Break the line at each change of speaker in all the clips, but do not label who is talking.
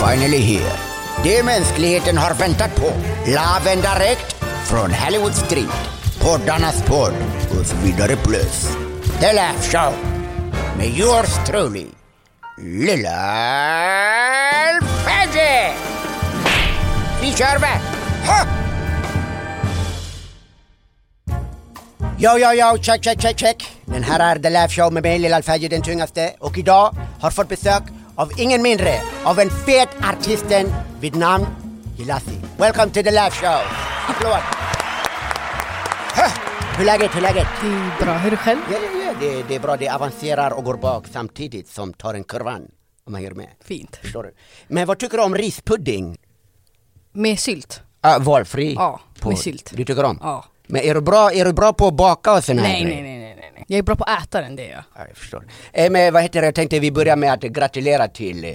finally here. Det mänskligheten har väntat på. Laven direkt från Hollywood Street. Poddarnas podd och så vidare plus. The Laugh Show. Med yours truly, Lilla Freddy! Vi kör va! Ha! Yo, yo, yo, check, check, check, check. Den här är The Laugh Show med mig, Lill Alfajir den tungaste. Och idag har fått besök av ingen mindre av en fet artisten vid namn Hilassi. Welcome to The Laugh Show! Applåd! Huh. Hur är läget, hur är läget?
Det är bra, hur är det själv?
Ja, ja, ja, det, det är bra. Det avancerar och går bak samtidigt som tar en kurvan. Om man gör med.
Fint.
Förstår du? Men vad tycker du om rispudding?
Med sylt?
Ah, valfri?
Ja, med sylt.
Du tycker om?
Ja.
Men är du bra, är du bra på att baka och såna här
Nej,
grejer?
nej, nej, nej, nej, nej. Jag är bra på att äta den, det är jag.
Ja, jag förstår. Eh, men vad heter det, jag tänkte vi börjar med att gratulera till eh,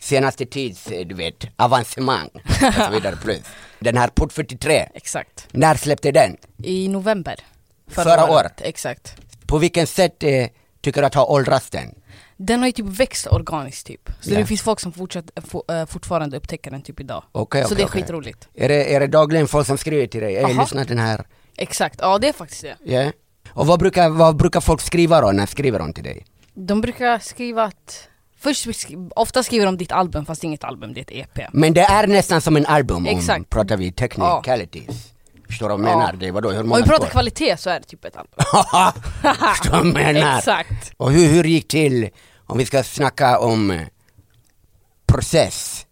senaste tids, eh, du vet, avancemang och så vidare plus. Den här Port 43,
Exakt.
när släppte den?
I november.
Förra året.
Exakt.
På vilken sätt eh, tycker du att har åldrats den?
Den har ju typ växt organiskt typ. Så
Ja.
det finns folk som fortsatt, få- eh, fortfarande upptäcker den typ idag.
Okej,
så
okej,
det är
okej.
skitroligt.
Är det, är det dagligen folk som skriver till dig? Hey,
Aha.
lyssna den här.
Exakt, ja det är faktiskt det.
Ja. Och vad brukar, vad brukar folk skriva då, när skriver de till dig?
De brukar skriva att Först, sk- ofta skriver de ditt album fast det är inget album, det är ett E EP.
Men det är nästan som en album om,
Exakt.
pratar vi technicalities. Förstår du vad jag menar?
Ja.
Det, vadå, hur
Om
många
vi pratar
spår?
kvalitet så är det typ ett album.
Förstår du vad jag menar?
Exakt.
Och hur, hur gick till, om vi ska snacka om eh, process,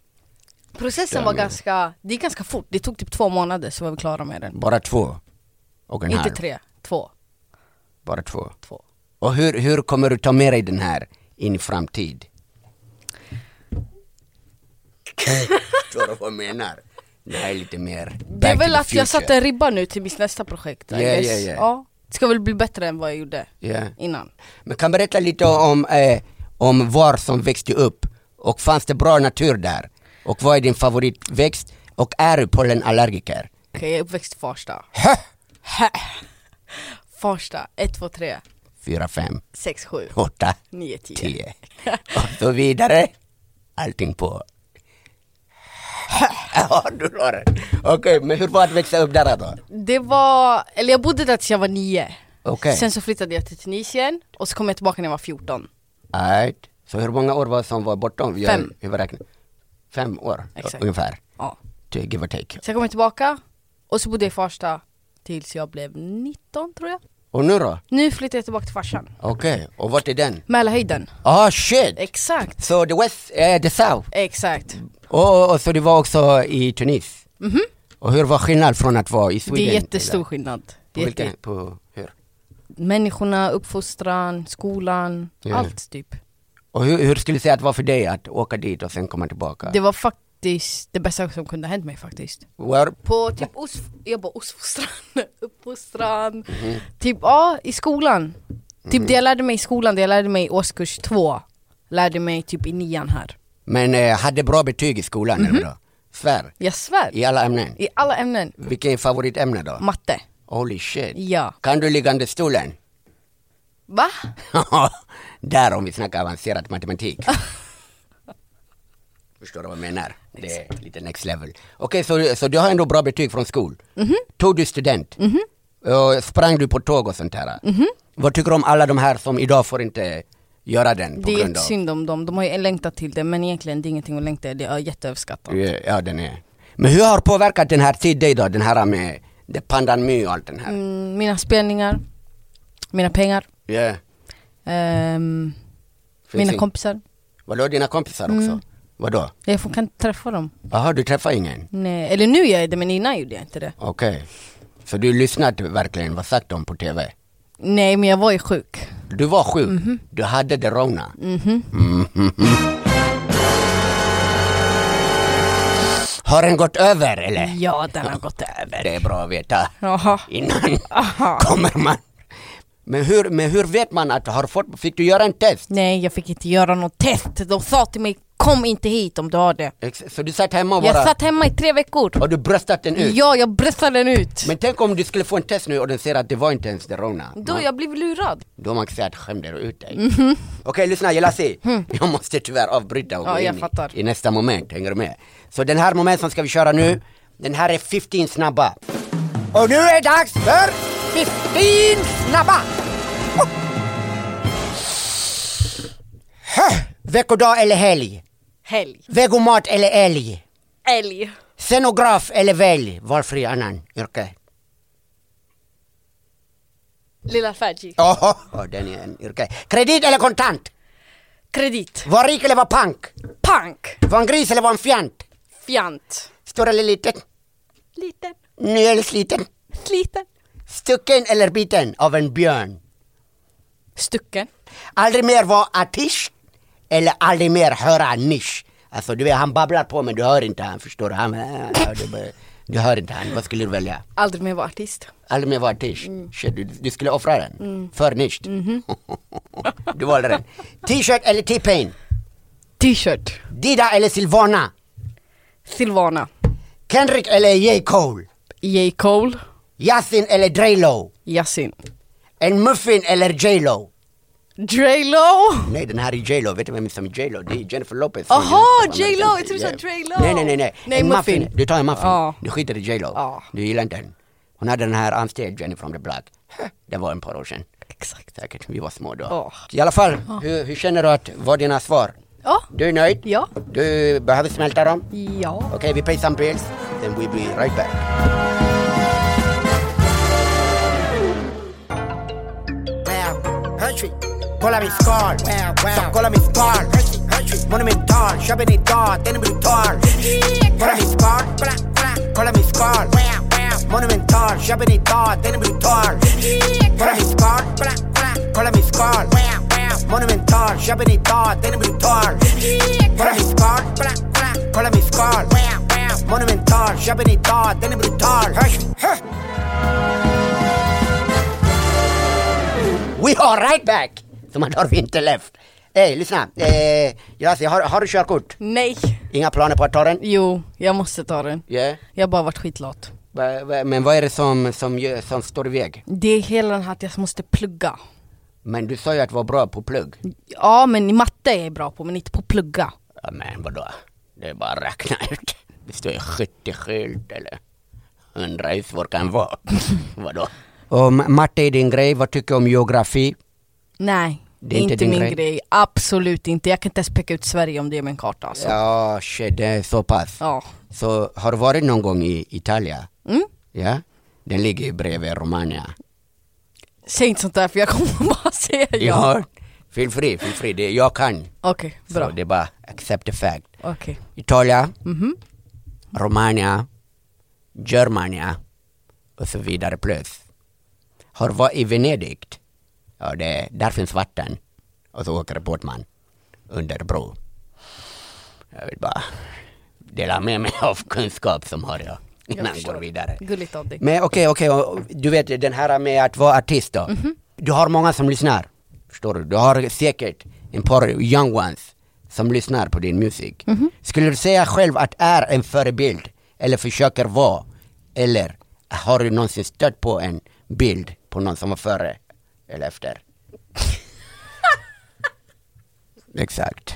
Processen var ganska, det är ganska fort, det tog typ två månader så var vi klara med den.
bara två och en
Inte
halv.
tre, två.
Bara två.
två.
Och hur, hur kommer du ta med dig den här in i framtid? Förstår du vad jag menar? Det här är lite mer
Det är
back to
väl
the
att
future.
jag satte en ribba nu till mitt nästa projekt. I
Ja,
guess.
ja, ja.
Ja. Det ska väl bli bättre än vad jag gjorde
Ja.
innan.
Men kan berätta lite om, eh, om var som växte upp och fanns det bra natur där? Och vad är din favoritväxt? Och är du pollenallergiker?
Okej, jag är uppväxt i Farsta.
Hä?
Farsta, 1, 2, 3,
Fyra, fem,
6, 7,
åtta,
9, 10.
tio och så vidare. Allting på. Ja, du har det. Okej, men hur var det att växa upp där då?
Det var, eller jag bodde där tills jag var 9.
Okej.
Sen så flyttade jag till Tunisien och så kom jag tillbaka när jag var 14.
Right. Så hur många år var det som var bortom? Vi-
Fem.
Vi räknar. Fem år
Exakt.
ungefär,
Ja.
to give or take.
Sen kom jag tillbaka och så bodde jag i Farsta tills jag blev 19 tror jag.
Och nu då?
Nu flyttar jag tillbaka till farsan.
Okej, och vart är den?
Mälarhöjden.
Ah shit!
Exakt.
Så the West, eh, the South.
Exakt.
Och, och, och så det var också i Tunis. Och hur var skillnaden från att vara i Sweden?
Mhm. Det är jättestor skillnad. Det
På
är
vilken,
jätte-
på hur?
Människorna, uppfostran, skolan,
Ja.
allt typ.
Och hur, hur skulle du säga att det var för dig att åka dit och sen komma tillbaka?
Det var faktiskt det bästa som kunde ha hänt mig faktiskt.
Var,
På typ os, jag bara ostfostran, uppfostran,
Mhm.
typ ja, i skolan. Typ det jag lärde mig i skolan, det jag lärde mig i årskurs två, lärde mig typ i nian här.
men eh, hade bra betyg i skolan eller då? Svär?
Jag svär.
I alla ämnen?
Mhm. I alla ämnen.
Vilket är favoritämne då?
Matte.
Holy shit.
Ja.
Kan du liggande stolen?
Va?
Där om vi snackar avancerad matematik. Förstår du vad jag menar? Det är lite next level. Okej, så, så du har ändå bra betyg från skol.
Mhm.
Tog du student? Och sprang du på tåg och sånt här?
Mhm.
Vad tycker du om alla de här som idag får inte göra den? På
Det är
grund av...
synd om dem, de har ju längtat till det men egentligen det är ingenting att längta det är jätteöverskattat.
Ja, Ja, den är. Men hur har påverkat den här till dig då? Den här med det pandanmy och allt den här?
Mm, mina spelningar, mina pengar.
Ja.
Ehm,
Finns
mina
ing-
kompisar.
Vadå, dina kompisar också?
Mm.
Vadå?
Jag får, kan inte träffa dem.
Jaha, du träffar ingen?
Nej. Eller nu gör jag det, men innan gjorde jag inte det.
Okej. Så du lyssnade verkligen, vad sagt de på TV?
Nej, men jag var ju sjuk.
Du var sjuk,
Mhm.
du hade det rona. Mhm. Har den gått över eller?
Ja, den har gått över.
Det är bra att veta
Jaha.
innan
Aha.
kommer man. Men hur, men hur vet man att du har fått, fick du göra en test?
Nej, jag fick inte göra något test. De sa till mig Kom inte hit om du har det.
Ex- Så du satt hemma och bara...
Jag satt hemma i tre veckor.
Och du bröstat den ut?
Ja, jag bröstade den ut.
Men tänk om du skulle få en test nu och den säger att det var inte ens det råna.
Då jag blev lurad.
Då har man sagt skämde du ut dig? Okej lyssna Jelassi, jag måste tyvärr avbryta och
Mhm. Mm. Ja,
gå
jag
in
fattar.
i, i nästa moment, hänger du med? Så den här momenten ska vi köra nu, den här är 15 snabba. Och nu är det dags för 15 snabba! Oh. Huh. Veckodag eller helg?
Helg.
Vegomat eller älg?
Älg.
Scenograf eller välj? Valfri annan yrke.
Lilla Fergie.
Åh, oh, den är en yrke. Kredit eller kontant?
Kredit.
Var rik eller var pank?
Pank.
Var en gris eller var en fjant?
Fjant.
Stor eller liten?
Liten.
Ny eller sliten?
Liten.
Stucken eller biten av en björn?
Stucken.
Aldrig mer vara artist eller aldrig mer höra nisch. Alltså du vet, han babblar på men du hör inte han, förstår du? Han, ja, du, bara- du hör inte han, vad skulle du välja?
Aldrig mer vara artist.
Aldrig mer vara artist? Shit, du, du skulle offra den? För nisch? du valde den. T-shirt eller T-pain?
T-shirt.
Dida eller Silvana?
Silvana.
Kendrick eller J. Cole?
J. Cole.
Yasin eller Drelo?
Yasin.
En muffin eller J. Lo?
Dre Lo.
Nej, den här är J Lo. Vet du vem som är J Lo? Det är Jennifer Lopez. Oh,
Aha,
Hon är
J. Lo. Jag
amerikansk.
trodde du sa
Ja.
Dre
Nej,
Lo.
nej, nej. nej.
Nej,
en muffin.
muffin. Ah.
Du tar en muffin.
Ja.
Du skiter i J Lo.
Ja.
Du gillar inte den. Hon hade den här I'm still Jenny from the block. Det var en par år sedan.
Exakt.
Säkert, vi var små då.
Ja.
I alla fall,
Ah.
hur, hur känner du att, vad är dina svar?
Ja.
Du är nöjd?
Ja.
Du behöver smälta dem?
Ja.
Okej, vi pay some bills, then we'll be right back. Kolla min skal, så kolla min skal Monumental, köper idag, den är brutal Kolla min skal, kolla min skal Monumental, köper idag, den är brutal Kolla min skal, kolla min skal Monumental, köper idag, den är brutal Kolla min skal, kolla min skal Monumental, köper idag, den är brutal We are right back! Så man har vi inte left. Ey, lyssna. Eh, Jasi, har, har du körkort?
Nej.
Inga planer på att ta den?
Jo, jag måste ta den.
Ja.
Jag har bara varit skitlat.
Va- va- Men vad är det som, som, gör- som står i väg?
Det är hela den här att jag måste plugga.
Men du sa ju att du var bra på plugg.
Ja, men i matte är jag bra på, men inte på plugga.
Ja, men vadå? Det är bara att räkna ut. Det står ju 70 skylt eller 100 hur svårt kan det vara? vadå? Om matte är din grej, vad tycker du om geografi?
Nej,
Det
det
är
är
inte
inte,
din
min
grej.
grej. Absolut inte. Jag kan inte ens peka ut Sverige om det är med en karta. Alltså. Ja.
Ja, shit, det är så pass. Så har du varit någon gång i Italien?
Mm.
Ja? Den ligger ju bredvid Romania.
Säg inte sånt där för jag kommer bara säga ja.
Jag har. Feel free, feel free. Det, jag kan.
Okej,
Så
bra.
det är bara accept the fact.
Okej.
Italien,
Mhm.
Romania, Germania och så vidare plus. Har varit i Venedig. Ja, det, där finns vatten. Och så åker båtman under bro. Jag vill bara dela med mig av kunskap som har jag innan jag
förstår.
går vidare.
Gulligt av dig.
Men okej, okej, och du vet den här med att vara artist då.
Mhm.
Du har många som lyssnar, förstår du? Du har säkert en par young ones som lyssnar på din musik.
Mhm.
Skulle du säga själv att är en förebild, eller försöker vara, eller har du någonsin stött på en bild på någon som var före eller efter? Exakt.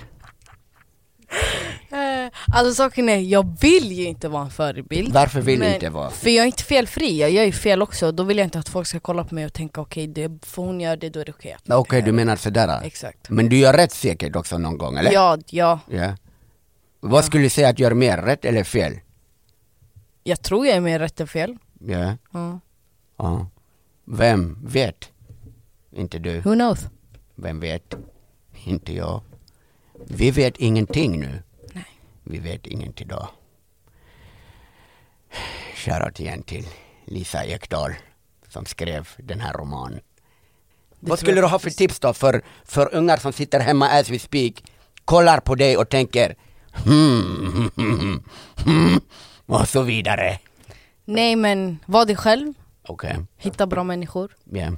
Eh, Alltså saken är, jag vill ju inte vara en förebild.
Varför vill du inte vara?
För jag är inte felfri, jag gör ju fel också. Då vill jag inte att folk ska kolla på mig och tänka okej, det för hon gör det, då är det okej.
Okej, du menar sådär?
Exakt.
Men du gör rätt säkert också någon gång, eller?
Ja, ja,
Ja. Vad skulle du säga att gör mer, rätt eller fel?
jag tror jag är mer rätt än fel.
Ja.
Ja.
ja. Vem vet? Inte du.
Who knows?
Vem vet? Inte jag. Vi vet ingenting nu.
Nej.
Vi vet ingenting idag. Shoutout igen till Lisa Ekdahl som skrev den här romanen. Vad
tror jag
skulle du ha för tips då för, för ungar som sitter hemma as we speak, kollar på dig och tänker hmm, hmm, hmm, och så vidare.
Nej men, var dig själv,
Okej,
hitta bra människor.
ja,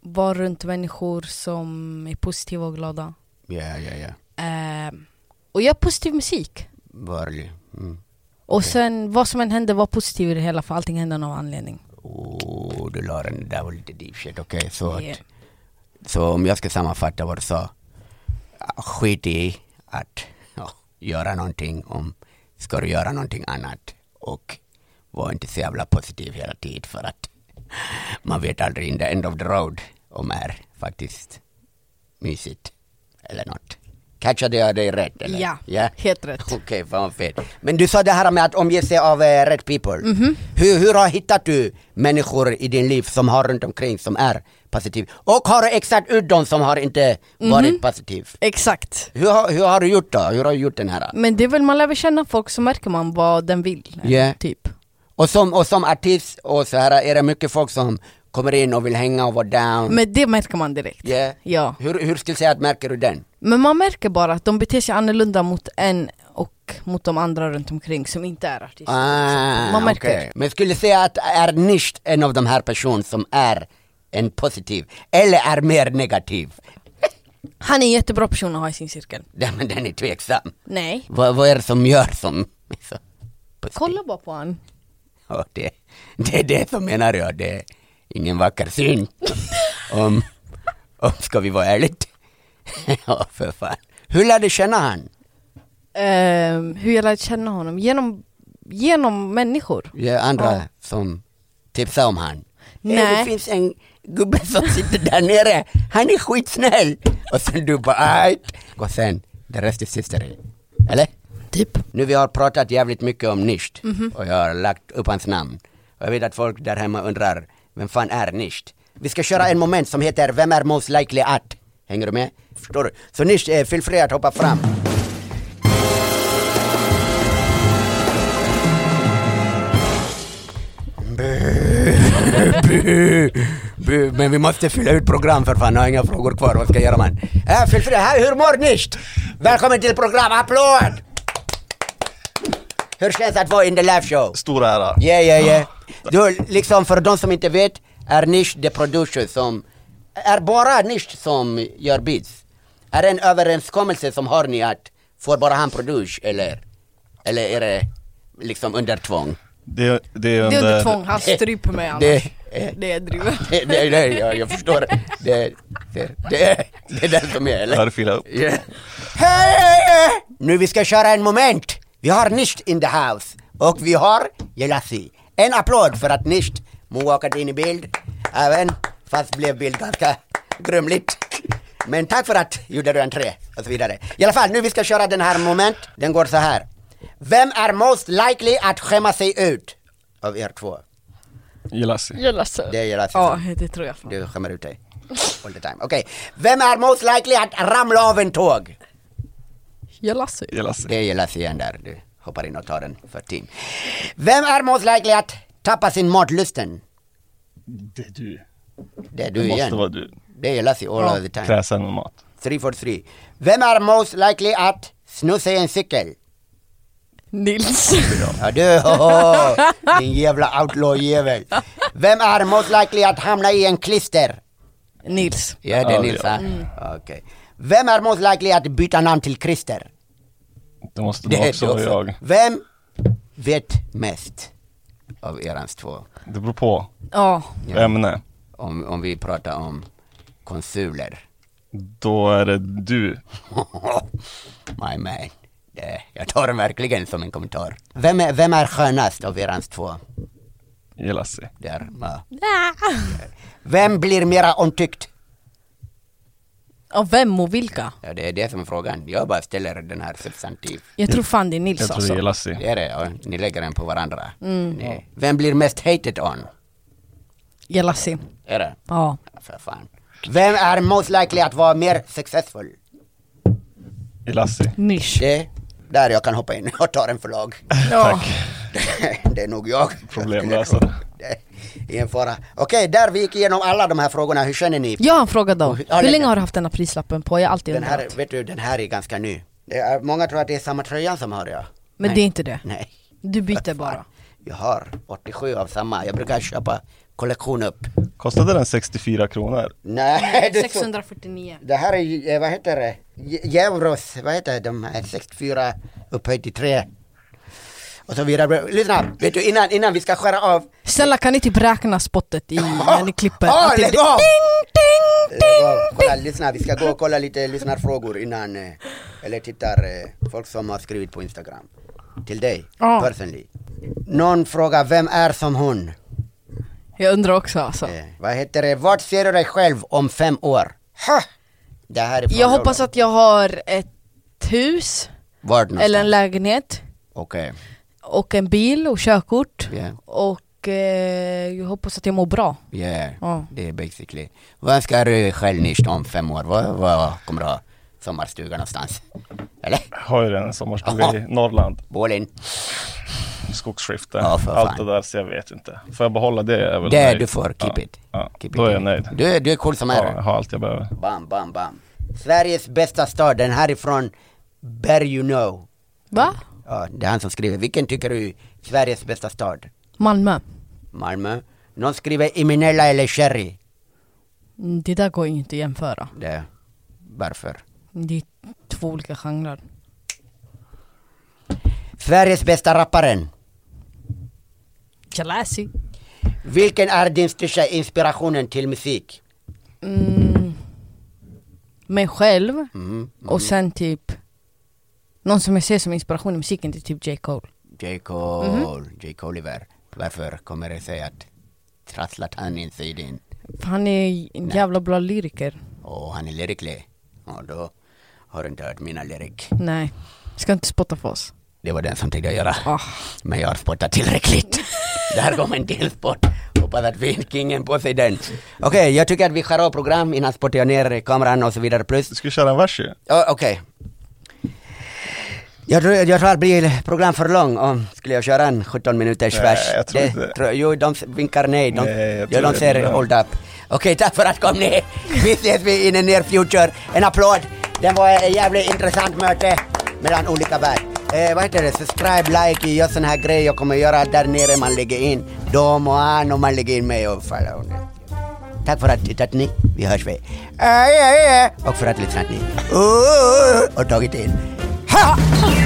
Var runt människor som är positiva och glada.
ja, ja, ja.
Ehm, och gör positiv musik.
Börlig. Mm.
Och sen vad som än hände, var positiv i det hela för allting hände av någon anledning.
Oh, du la den där var lite deep shit. Okej, så att,
Yeah.
Så om jag ska sammanfatta vad du sa. Skit i att ja, göra någonting om, ska du göra någonting annat och var inte så jävla positiv hela tiden för att man vet aldrig in the end of the road om är faktiskt mysigt eller något. Catchade jag dig rätt eller?
Ja,
ja?
helt rätt.
Okej, fan vad fett. Men du sa det här med att omge sig av eh, rätt people.
Mhm.
Hur, hur har hittat du människor i din liv som har runt omkring som är positiv? Och har du exakt ut de som har inte
Mhm.
varit positiv?
Exakt.
Hur, har- hur har du gjort då? Hur har du gjort den här?
Men det är väl, man lär väl känna folk så märker man vad den vill. eh,
Yeah.
Typ.
Och som, och som artist och så här, är det mycket folk som kommer in och vill hänga och vara down?
Men det märker man direkt.
Yeah.
Ja.
Hur, hur skulle du säga att märker du den?
Men man märker bara att de beter sig annorlunda mot en och mot de andra runt omkring som inte är artister.
Ah,
Man märker.
okej. Men skulle säga att är nicht en av de här personer som är en positiv eller är mer negativ?
Han är en jättebra person att ha i sin cirkel.
Den, men den är tveksam.
Nej.
Vad, vad är det som gör som... Så, positiv?
Kolla bara på han.
Ja, det, det är det som menar jag, det är ingen vacker syn. om, om ska vi vara ärligt. ja, för fan. Hur lärde du känna han?
Ehm, hur jag lärde känna honom? Genom, genom människor.
Ja, andra
Ja.
som tipsar om han.
Nej.
Eh, Det finns en gubbe som sitter där nere, han är skitsnäll. Och sen du bara "Ajt." Och sen, the rest is history. Eller?
Typ. Mhm.
Nu vi har pratat jävligt mycket om Nisht och jag har lagt upp hans namn. Och jag vet att folk där hemma undrar, vem fan är Nisht? Vi ska köra en moment som heter Vem är most likely att? Hänger du med? Förstår du? Så Nisht, eh, feel free att hoppa fram. Bu, bu, men vi måste fylla ut program för fan, jag har inga frågor kvar, vad ska jag göra man? Äh, feel free, här, hur mår Nisht? Välkommen till program, applåd! Hur känns det att vara in the live show?
Stora ära.
Yeah, yeah, yeah. Du, liksom för de som inte vet, är Nish the producer som, är bara Nish som gör beats? Är det en överenskommelse som har ni att, får bara han produce eller? Eller är det liksom under tvång?
Det, det är
Det är
under...
under tvång, han stryper mig annars.
det-
Det, det är drivet.
Det, det, det, jag, jag förstår. Det, det, det, det är det som är, eller?
Här filar jag upp.
Yeah. Hej! Nu vi ska köra en moment. Vi har Nisht in the house och vi har Jelassi. En applåd för att Nisht walkat in i bild. Även fast blev bild ganska grumligt. Men tack för att gjorde du entré och så vidare. I alla fall, nu vi ska köra den här moment. Den går så här. Vem är most likely att skämma sig ut av er två?
Jelassi.
Jag läser.
Det är Jelassi.
Ja, det tror jag fan.
Du skämmer ut dig. All the time. Okej. Vem är most likely att ramla av en tåg?
Jag läser.
Jelassi.
Det gillas igen där. Du hoppar in och tar den för team. Vem är most likely att tappa sin matlusten?
Det är du.
Det är du
Det måste
igen.
vara du.
Det gillas i all
Ja.
of the time.
Kräsen med mat.
Three for three. Vem är most likely att snusa i en cykel?
Nils.
Ja du, hoho, din jävla outlaw-jävel. Vem är most likely att hamna i en klister?
Nils.
Ja, det är
Ja,
Nils
ja.
va? Okej. Vem är most likely att byta namn till Christer?
Det måste vara också vara jag.
Vem vet mest av erans två?
Det beror på.
Ja.
Ja.
Ämne.
Om, om vi pratar om konsuler.
Då är det du.
My man. Det, jag tar den verkligen som en kommentar. Vem är, vem är skönast av erans två?
Jelassi.
Där, ja. Vem blir mera omtyckt?
Av vem och vilka?
Ja, det är det som är frågan. Jag bara ställer den här substantiv.
Jag tror fan det är Nils
Jag tror det
alltså.
är Jelassi.
Det är det, ja. ni lägger den på varandra. Ni, vem blir mest hated on?
Jag läser.
Är det?
Ja.
För fan. Vem är most likely att vara mer successful?
Jelassi.
Nisch.
Det, där jag kan hoppa in och ta den för lag.
Ja.
det är nog jag.
Problemlösare.
Det är Ingen fara. Okej, där vi gick igenom alla de här frågorna. Hur känner ni?
Jag har en fråga då.
Ja,
Hur länge har du haft den här prislappen på? Jag har alltid
Den här,
undrat.
vet du, den här är ganska ny. Det är, många tror att det är samma tröja som har jag.
Men
Nej.
det är inte det.
Nej.
Du byter bara.
Jag har 87 av samma. Jag brukar köpa kollektion upp.
Kostade den 64 kronor?
Mm.
Nej, det är så-
649.
Det här är, eh, vad heter det, J- euros, vad heter de här 64 upphöjt till 3 och så vidare. Lyssna, vet du innan, innan vi ska skära av.
Snälla kan ni typ räkna spottet i, när ni klipper?
Ah,
Att det
lägg
blir
av!
Ding,
Eh,
ding, ding.
gå- Kolla, lyssna, vi ska gå och kolla lite lyssnarfrågor innan, eh, eller tittar eh, folk som har skrivit på Instagram. Till dig,
Ja.
personally. Någon frågar, vem är som hon?
Jag undrar också alltså.
Eh, vad heter det, vart ser du dig själv om fem år? Ha! Det här är från
Jag hoppas
Lola.
att jag har ett hus,
Vart någonstans?
eller en lägenhet,
Okej.
och en bil och körkort.
Yeah.
Och eh, jag hoppas att jag mår bra.
Yeah,
Ja.
det är basically. Vad ska du själv nysta om fem år? Vad, vad kommer du ha sommarstuga någonstans? Eller?
Jag har ju redan en sommarstuga i
Jaha.
Norrland,
Bålin?
skogsskifte.
Ja, för
Allt det
fan.
där så jag vet inte. Får jag behålla det är jag väl
Det
nöjd.
du får, keep
ja.
it.
Ja.
Keep
Då
it.
är jag nöjd.
Du, är- du är cool som är
Ja, jag
du.
har allt jag behöver.
Bam, bam, bam. Sveriges bästa stad, den härifrån, Better you know.
Va?
Ja, det är han som skriver. Vilken tycker du är Sveriges bästa stad?
Malmö.
Malmö? Någon skriver Iminella eller Cherry?
Mm, Det där går ju inte att jämföra.
Det. Varför?
Det är två olika genrer.
Sveriges bästa rapparen?
Jalasi.
Vilken är din största inspirationen till musik?
Mm. Mig själv
Mm.
och sen typ någon som jag ser som inspiration i musiken det är typ J. Cole.
J. Cole, J. Cole Oliver. Varför kommer det sig att trasslat han in sig i din?
För han är en jävla bra lyriker.
Och han är lyriklig. Ja, då har du inte hört mina lyrik.
Nej, ska inte spotta på oss.
Det var den som tänkte jag göra.
Ah.
Men jag har spottat tillräckligt. Där kom en till spott. Hoppas att vi kingen på sig den. Okej, jag tycker att vi skär av program innan spottar jag ner kameran och så vidare. Plus
Du ska ju köra en vers ju.
Ja, okej. Jag tror, jag tror att det blir program för lång om skulle jag köra en 17 minuters
Nej,
vers.
jag tror
Det
inte det.
tror- Jo, de vinkar nej. De,
Nej, jag
ja,
tror
de
det.
säger hold up. Okej, tack för att kom ni. Vi ses vi in the near future. En applåd. Det var ett jävligt intressant möte mellan olika värld. Eh, vad heter det? Subscribe, like, gör sån här grej jag kommer göra där nere. Man lägger in dem och han och man lägger in mig och follow. Tack för att tittat ni. Vi Eh, hörs vi. Äh, äh, äh. Och för att lyssnat ni. Uh, och tagit in. Ha!